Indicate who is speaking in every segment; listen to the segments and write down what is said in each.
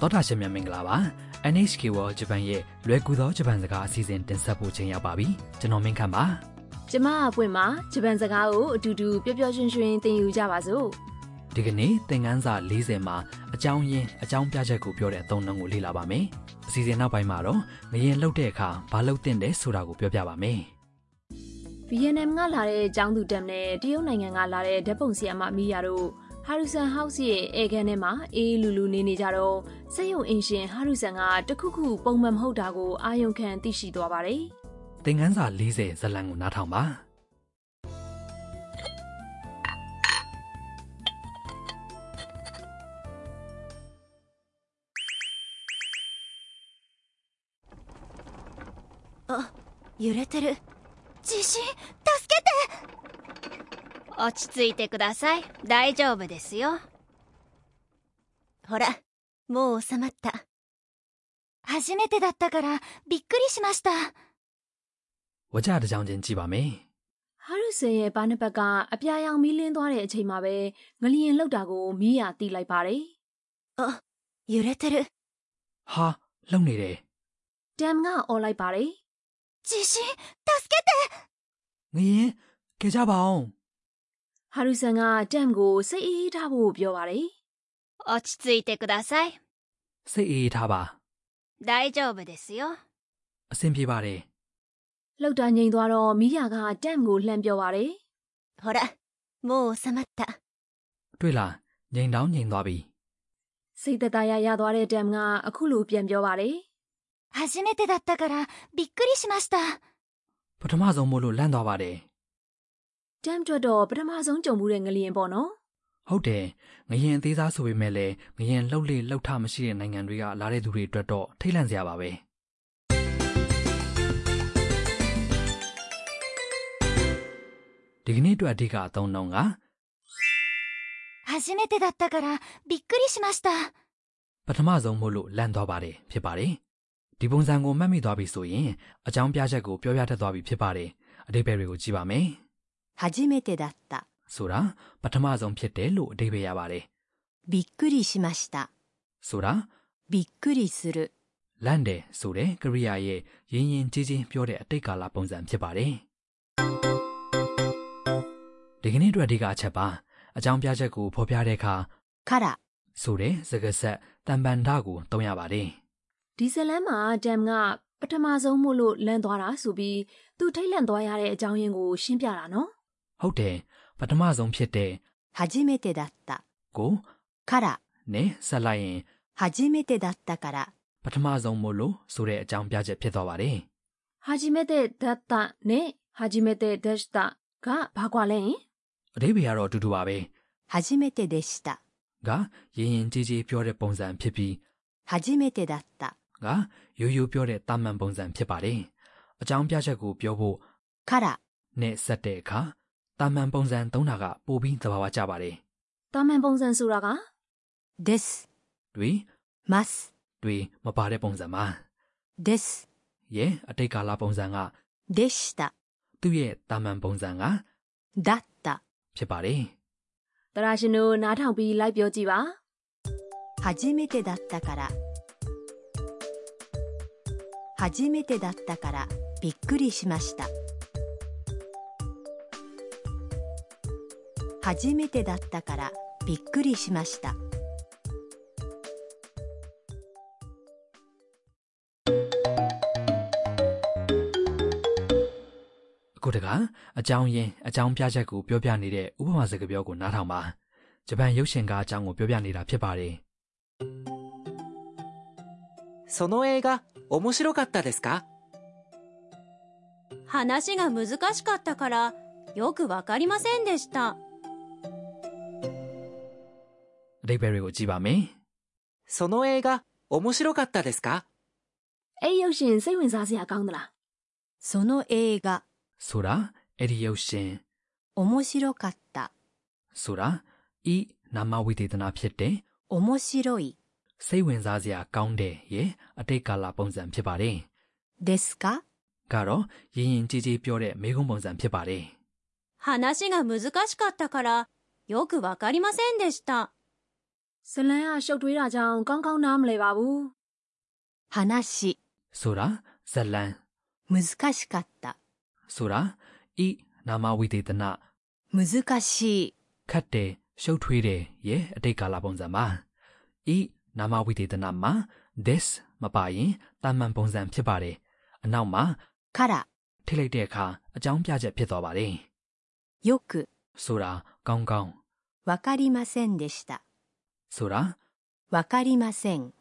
Speaker 1: သောတာရှင်များမင်္ဂလာပါ NHK World Japan ရဲ့လွယ်ကူသောဂျပန်စကားအစီအစဉ်တင်ဆက်ဖို့ချိန်ရောက်ပါပြီကျွန်တော်မင်းခန့်ပါ
Speaker 2: ကျမအပွင့်မှာဂျပန်စကားကိုအတူတူပျော်ပျော်ရွှင်ရွှင်သင်ယူကြပါစို့
Speaker 1: ဒီကနေ့သင်ခန်းစာ40မှာအကြောင်းရင်းအကြောင်းပြချက်ကိုပြောတဲ့အသုံးအနှုန်းကိုလေ့လာပါမယ်အစီအစဉ်နောက်ပိုင်းမှာတော့ငရင်လှုပ်တဲ့အခါဘာလှုပ်သင့်တယ်ဆိုတာကိုပြောပြပါမယ်
Speaker 2: ဗီယက်နမ်ကလာတဲ့အကြောင်းသူတက်နဲ့တရုတ်နိုင်ငံကလာတဲ့ဓာတ်ပုံဆီယမမီယာတို့ဟာရူဆန်ဟောက်စ်ရဲ့အဲကန်ထဲမှာအေးလူလူနေနေကြတော့စက်ရုံအင်ရှင်ဟာရူဆန်ကတခုခုပုံမှန်မဟုတ်တာကိုအာယုံခံသိရှိသွားပါတယ်
Speaker 1: သင်ခန်းစာ40ဇာတ်လမ်းကိုနားထောင်ပါ
Speaker 3: あ揺れてる
Speaker 4: 地震助けて落ち着いてください大丈夫ですよ
Speaker 3: ほらもう収まった
Speaker 4: 初めてだったからびっくりしました
Speaker 1: ဝကြတစ်ကြောင်ချင်းကြည့်ပါမယ်
Speaker 2: ဟာရူဆန်ရဲ့ဘားနှစ်ဘက်ကအပြာရောင်မီးလင်းသွားတဲ့အချိန်မှာပဲငလျင်လှုပ်တာကိုမီးရတီးလိုက်ပါတယ်
Speaker 3: あ揺れてる
Speaker 1: ဟာလှုပ်နေတယ်
Speaker 2: ဒမ်ကអော်လိုက်ပါတယ်
Speaker 4: 地震助けて
Speaker 1: ငရင်ကြကြပါအောင်
Speaker 2: ဟာရူဆန်ကဒမ်ကိုစိတ်အေးအေးထားဖို့ပြောပါတယ်
Speaker 4: 落ち着いてください
Speaker 1: စိတ်အေးအေးထားပါ
Speaker 4: 大丈夫ですよ
Speaker 1: အဆင်ပြေပါတယ်
Speaker 2: လှုပ်တာငြိမ်သွားတော့မီးရကဒမ်ကိုလှမ်းပြောပါတယ်
Speaker 3: ほらもう収まった
Speaker 1: တွေ့လားငိန်တောင်းငိန်သွားပြီ
Speaker 2: စိတ်သက်သာရရသွားတဲ့တမ်ကအခုလိုပြန်ပြောပါတယ်
Speaker 4: 初めてだったからびっくりしました
Speaker 1: ပထမဆုံးမို့လို့လန့်သွားပါတယ်
Speaker 2: ။တမ်ထွက်တော့ပထမဆုံးကြုံမှုတဲ့ငလျင်ပေါ့နော်
Speaker 1: ဟုတ်တယ်ငရင်အသေးစားဆိုပေမဲ့လည်းငရင်လှုပ်လေလှုပ်ထမရှိတဲ့နိုင်ငံတွေကလာတဲ့သူတွေအတွက်တော့ထိတ်လန့်စရာပါပဲဒီကနေ့အတွက်အဓိကအသုံးနှုန်းက
Speaker 4: 初めてだったからびっくりしました
Speaker 1: ပထမဆုံးမို့လို့လန့်သွားပါတယ်ဖြစ်ပါတယ်ဒီပုံစံကိုမှတ်မိသွားပြီဆိုရင်အကြောင်းပြချက်ကိုပြောပြတတ်သွားပြီဖြစ်ပါတယ်အတိပ္ပယ်တွေကိုကြည့်ပါမယ်
Speaker 3: 初めてだった
Speaker 1: ဆိုတာပထမဆုံးဖြစ်တယ်လို့အတိပ္ပယ်ရပါတယ်
Speaker 3: びっくりしました
Speaker 1: ဆိုတာ
Speaker 3: びっくりする
Speaker 1: လန့်တယ်ဆိုတဲ့ကရိယာရဲ့ရင်းရင်ချင်းချင်းပြောတဲ့အတိတ်ကာလပုံစံဖြစ်ပါတယ်။ဒီကနေ့အတွက်အဓိကအချက်ပါအကြောင်းပြချက်ကိုဖော်ပြတဲ့အခါ
Speaker 3: から
Speaker 1: ဆိုတဲ့စကားဆက်တံပန်ဒကိုတုံးရပါတယ်
Speaker 2: ။ဒီဇလန်မှာတမ်ကပထမဆုံးမို့လို့လန့်သွားတာဆိုပြီးသူထိတ်လန့်သွားရတဲ့အကြောင်းရင်းကိုရှင်းပြတာနော်
Speaker 1: ။ဟုတ်တယ်ပထမဆုံးဖြစ်တဲ့
Speaker 3: 初めてだった
Speaker 1: ကို
Speaker 3: から
Speaker 1: နဲ့ဆက်လိုက်ရင်
Speaker 3: 初めてだったから
Speaker 1: ပထမဆုံးမို့လို့ဆိုတဲ့အကြောင်းပြချက်ဖြစ်သွားပါတယ်
Speaker 2: ။ဟာဂျီမက်တဲ့ဒတ်တာနဲ့ဟာဂျီမက်တဲ့ဒက်တာကဘာကွာလဲဟင်
Speaker 1: ။အတိပ္ပယ်ကတော့အတူတူပါပဲ
Speaker 3: 初めてでした
Speaker 1: ။ကရင်းရင်ချင်းချင်းပြောတဲ့ပုံစံဖြစ်ပြီး
Speaker 3: 初めてだった
Speaker 1: ကရိုးရိုးပြောတဲ့တာမန်ပုံစံဖြစ်ပါတယ်။အကြောင်းပြချက်ကိုပြောဖို့
Speaker 3: から
Speaker 1: နဲ့ဆက်တဲ့အခါတာမန်ပုံစံသုံးတာကပိုပြီးသဘာဝကျပါတယ်
Speaker 2: ။တာမန်ပုံစံဆိုတာက
Speaker 3: です
Speaker 1: ။တွေ
Speaker 3: ます
Speaker 1: တွေမပါတဲ့ပုံစံပါ
Speaker 3: です
Speaker 1: ။ရဲ့အတိတ်ကာလပုံစံက
Speaker 3: でした
Speaker 1: သူ့ရဲ့တာမန်ပုံစံက
Speaker 3: だった
Speaker 1: ဖြစ်ပါတယ်
Speaker 2: တရာရှင်တို့နားထောင်ပြီးလိုက်ပြောကြည့်ပါ
Speaker 3: 初めてだったから初めてだったからびっくりしました初めてだったからびっくりしました
Speaker 1: ။အခုတကအကြောင်းရင်းအကြောင်းပြချက်ကိုပြောပြနေတဲ့ဥပမာစကားပြောကိုနားထောင်ပါ။ဂျပန်ရုပ်ရှင်ကအကြောင်းကိုပြောပြနေတာဖြစ်ပါတယ်
Speaker 5: その映画面白かったですか
Speaker 6: 話が難しかったからよくわかりませんでした
Speaker 1: ။အတိတ်ဘယ်တွေကိုကြည့်ပါမယ်
Speaker 5: その映画面白かったですか
Speaker 2: ။အဲ့ဒီရုပ်ရှင်စိတ်ဝင်စားစရာကောင်းသလား
Speaker 3: その映画
Speaker 1: ။ဆိုတာအဲ့ဒီရုပ်ရှင်
Speaker 3: 面白かった
Speaker 1: ဆိုတာဤနာမဝိသေသနာဖြစ်တယ်
Speaker 3: 面白い
Speaker 1: စိတ်ဝင်စားစရာကောင်းတယ်ရဲ့အတိတ်ကာလပုံစံဖြစ်ပါတယ်
Speaker 3: ですか
Speaker 1: ကတော့ရင်းရင်ကြည်ကြည်ပြောတဲ့မေခွန်းပုံစံဖြစ်ပါတယ်
Speaker 6: 話が難しかったからよくわかりませんでした
Speaker 2: ဇလန်ကရှုပ်ထွေးတာကြောင့်ကောင်းကောင်းနားမလဲပါဘူး
Speaker 7: 話、
Speaker 1: ဆိုတာဇလန်
Speaker 7: 難しかった。
Speaker 1: ဆိုတာဤနာမဝိသေသန
Speaker 7: 難しい、
Speaker 1: ခတ်တယ်ရှုပ်ထွေးတယ်ရဲ့အတိတ်ကာလပုံစံပါဤနာမဝိသေသနမှာ this မပါရင်တာမန်ပုံစံဖြစ်ပါတယ်အနောက်မှာ
Speaker 7: から、
Speaker 1: ထိလိုက်တဲ့အခါအကြောင်းပြချက်ဖြစ်သွားပါတယ်
Speaker 7: よく、
Speaker 1: ဆိုတာကောင်းကောင်း
Speaker 7: わかりませんでした。
Speaker 1: ဆိုတာ
Speaker 7: わかりません。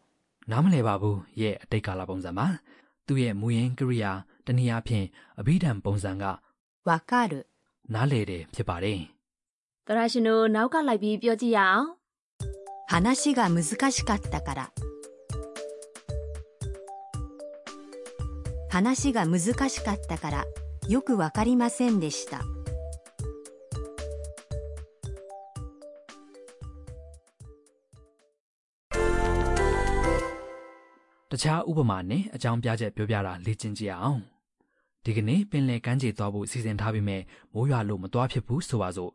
Speaker 1: နားမလည်ပါဘူးရဲ့အတိတ်ကာလပုံစံမှာသူ့ရဲ့မူရင်းကရိယာတနည်းအားဖြင့်အဘိဓမ္မာပုံစံက
Speaker 7: わかる、
Speaker 1: နားလည်တယ်ဖြစ်ပါတယ်
Speaker 2: တရရှင်တို့နောက်ကလိုက်ပြီးပြောကြည့်ရအောင်
Speaker 7: 話が難しかったから。話が難しかったから、よくわかりませんでした。
Speaker 1: တခြားဥပမာနဲ့အကြောင်းပြချက်ပြောပြတာလေ့ကျင့်ကြည့်ရအောင်ဒီကနေ့ပင်လယ်ကမ်းခြေသွားဖို့စီစဉ်ထားပေမဲ့မိုးရွာလို့မသွားဖြစ်ဘူးဆိုပါစို့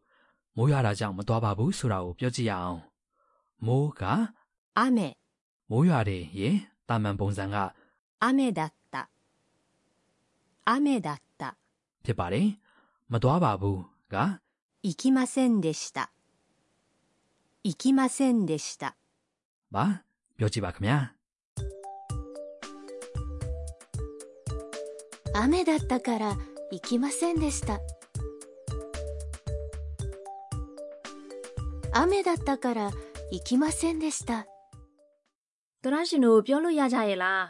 Speaker 1: မိုးရွာတာကြောင့်မသွားပါဘူးဆိုတာကိုပြောကြည့်ရအောင်မိုးက
Speaker 7: 雨、
Speaker 1: မိုးရွာတယ်ရဲ့တာမန်ပုံစံက
Speaker 7: 雨だった。雨だった。
Speaker 1: ဖြစ်ပါတယ်မသွားပါဘူးက
Speaker 7: 行きませんでした。行きませんでした。
Speaker 1: ပါပြောကြည့်ပါခင်ဗျာ
Speaker 4: 雨だったから行きませんでした雨だったから行きませんでした
Speaker 2: တရရှင်တို့ပြောလို့ရကြရဲ့လား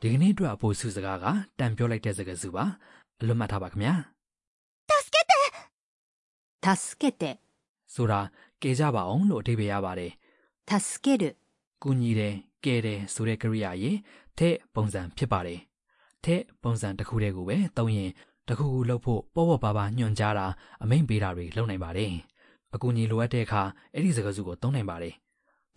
Speaker 1: ဒီကနေ့အတွက်အဖို့စုစကားကတန်ပြောလိုက်တဲ့စကားစုပါအလွတ်မှတ်ထားပါခင်ဗျာ
Speaker 7: 助けて、
Speaker 1: ဆိုတာကဲကြပါအောင်လို့အဓိပ္ပာယ်ရပါတယ်
Speaker 7: 助ける、
Speaker 1: ကုညီတယ်ကဲတယ်ဆိုတဲ့ကရိယာရင်တဲ့ပုံစံဖြစ်ပါတယ်တဲ့ပုံစံတစ်ခုတည်းကိုပဲသုံးရင်တစ်ခုခုလုပ်ဖို့ပေါ့ပေါ့ပါပါညွှန်ကြားတာအမိန့်ပေးတာတွေလုပ်နိုင်ပါတယ်အကူအညီလိုအပ်တဲ့အခါအဲ့ဒီစကားစုကိုသုံးနိုင်ပါတယ်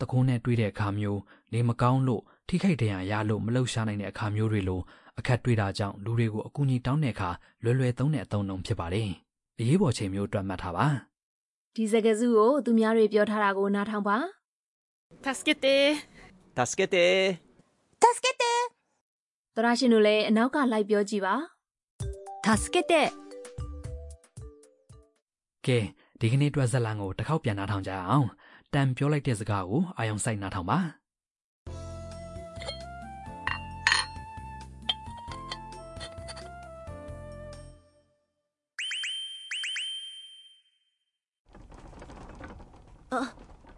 Speaker 1: တခုံးနဲ့တွေ့တဲ့အခါမျိုးနေမကောင်းလို့ထိခိုက်ဒဏ်ရာရလို့မလှုပ်ရှားနိုင်တဲ့အခါမျိုးတွေလိုအခက်တွေ့တာကြောင့်လူတွေကိုအကူအညီတောင်းတဲ့အခါလွယ်လွယ်သုံးတဲ့အသုံးအနှုန်းဖြစ်ပါတယ်အရေးပေါ်ချိန်မျိုးတွက်မှတ်ထားပါ
Speaker 2: ဒီစကားစုကိုသူများတွေပြောထားတာကိုနားထောင်ပါ
Speaker 8: 助けて
Speaker 5: 助けて
Speaker 3: 助けて
Speaker 2: တရရှင်တို့လည်းအနောက်ကလိုက်ပြောကြည့်ပါ
Speaker 7: 助けて、
Speaker 1: ကဲဒီကနေ့အတွက်ဇာတ်လမ်းကိုတစ်ခေါက်ပြန်နှာထောင်ကြအောင်တန်ပြောလိုက်တဲ့စကားကိုအာယုံစိုက်နှာထောင်ပါ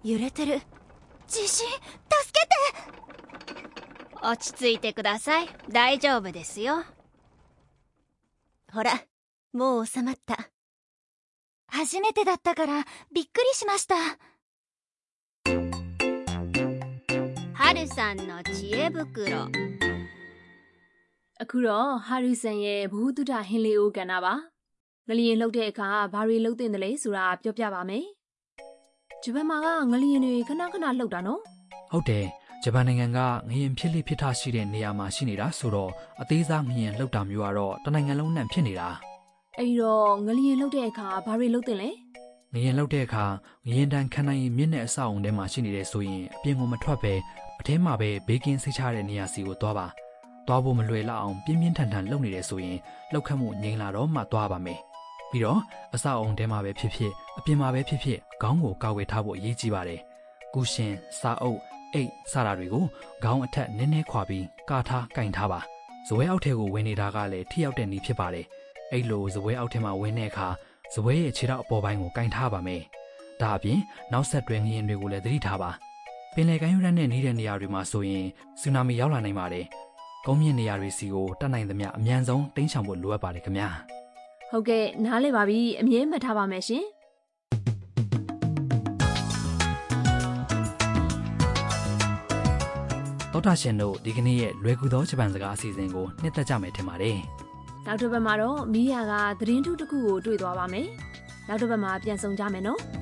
Speaker 3: 揺れてる
Speaker 4: 地震助けて落ち着いてください大丈夫ですよ
Speaker 3: ほらもう収まった
Speaker 4: 初めてだったからびっくりしましたはるさんの知恵袋
Speaker 2: အခုတော့ဟာရီဆန်ရဲ့ဘ ഹു တုဒ္ဒဟင်းလေးအိုးကဏ္ဍပါငလျင်လှုပ်တဲ့အခါဘာတွေလှုပ်တင်တယ်လဲဆိုတာပြောပြပါမယ်ဂျပန်မှာကငလျင်တွေခဏခဏလှုပ်တာနော်
Speaker 1: ဟုတ်တယ်ဂျပန်နိုင်ငံကငရင်ဖြစ်လိဖြစ်ထရှိတဲ့နေရာမှာရှိနေတာဆိုတော့အသေးစားငရင်လှုပ်တာမျိုးကတော့တစ်နိုင်ငံလုံးနဲ့ဖြစ်နေတာ
Speaker 2: အဲဒီတော့ငလျင်လှုပ်တဲ့အခါဘာတွေလှုပ်တင်လဲ
Speaker 1: ငရင်လှုပ်တဲ့အခါငရင်တန်ခံနိုင်ရင်မြင့်တဲ့အဆောက်အုံထဲမှာရှိနေတယ်ဆိုရင်အပြင်ကိုမထွက်ပဲအထဲမှာပဲဘေးကင်းစိတ်ချတဲ့နေရာစီကိုသွားပါသွားဖို့မလွယ်လောက်အောင်ပြင်းပြင်းထန်ထန်လှုပ်နေတယ်ဆိုရင်လှုပ်ခတ်မှုငြိမ်လာတော့မှသွားပါမယ်ပြီးတော့အဆောက်အုံထဲမှာပဲဖြစ်ဖြစ်အပြင်မှာပဲဖြစ်ဖြစ်ခေါင်းကိုကာဝယ်ထားဖို့အရေးကြီးပါတယ် ကုရှင်စာအုပ်အိတ်စတာတွေကိုခေါင်းအထက်နည်းနည်းခွာပြီးကာထားကင်ထားပါဇပွဲအောက်ထဲကိုဝင်နေတာကလည်းထိရောက်တဲ့နည်းဖြစ်ပါတယ်အဲ့လိုဇပွဲအောက်ထဲမှာဝင်တဲ့အခါဇပွဲရဲ့ခြေထောက်အပေါ်ပိုင်းကိုကင်ထားပါမယ်ဒါအပြင်နောက်ဆက်တွဲငရင်တွေကိုလည်းသတိထားပါပင်လယ်ကမ်းရိုးတန်းနဲ့နေတဲ့နေရာတွေမှာဆိုရင်ဆူနာမီရောက်လာနိုင်ပါတယ်ကုန်းမြင့်နေရာတွေစီကိုတတ်နိုင်သမျှအမြန်ဆုံးတိမ်းရှောင်ဖို့လိုအပ်ပါတယ်ခင်ဗျာ
Speaker 2: ဟုတ်ကဲ့နားလည်ပါပြီအမြဲမှတ်ထားပါမယ်ရှင်
Speaker 1: တောတာရှင်တို့ဒီကနေ့ရဲ့လွယ်ကူသောဂျပန်စကားအစီအစဉ်ကိုနှစ်သက်ကြမယ်ထင်ပါတယ်
Speaker 2: နောက်တစ်ပတ်မှာတော့မီးယာကသတင်းထုတစ်ခုကိုတွေ့သွားပါမယ်နောက်တစ်ပတ်မှာပြန်ဆောင်ကြမယ်နော်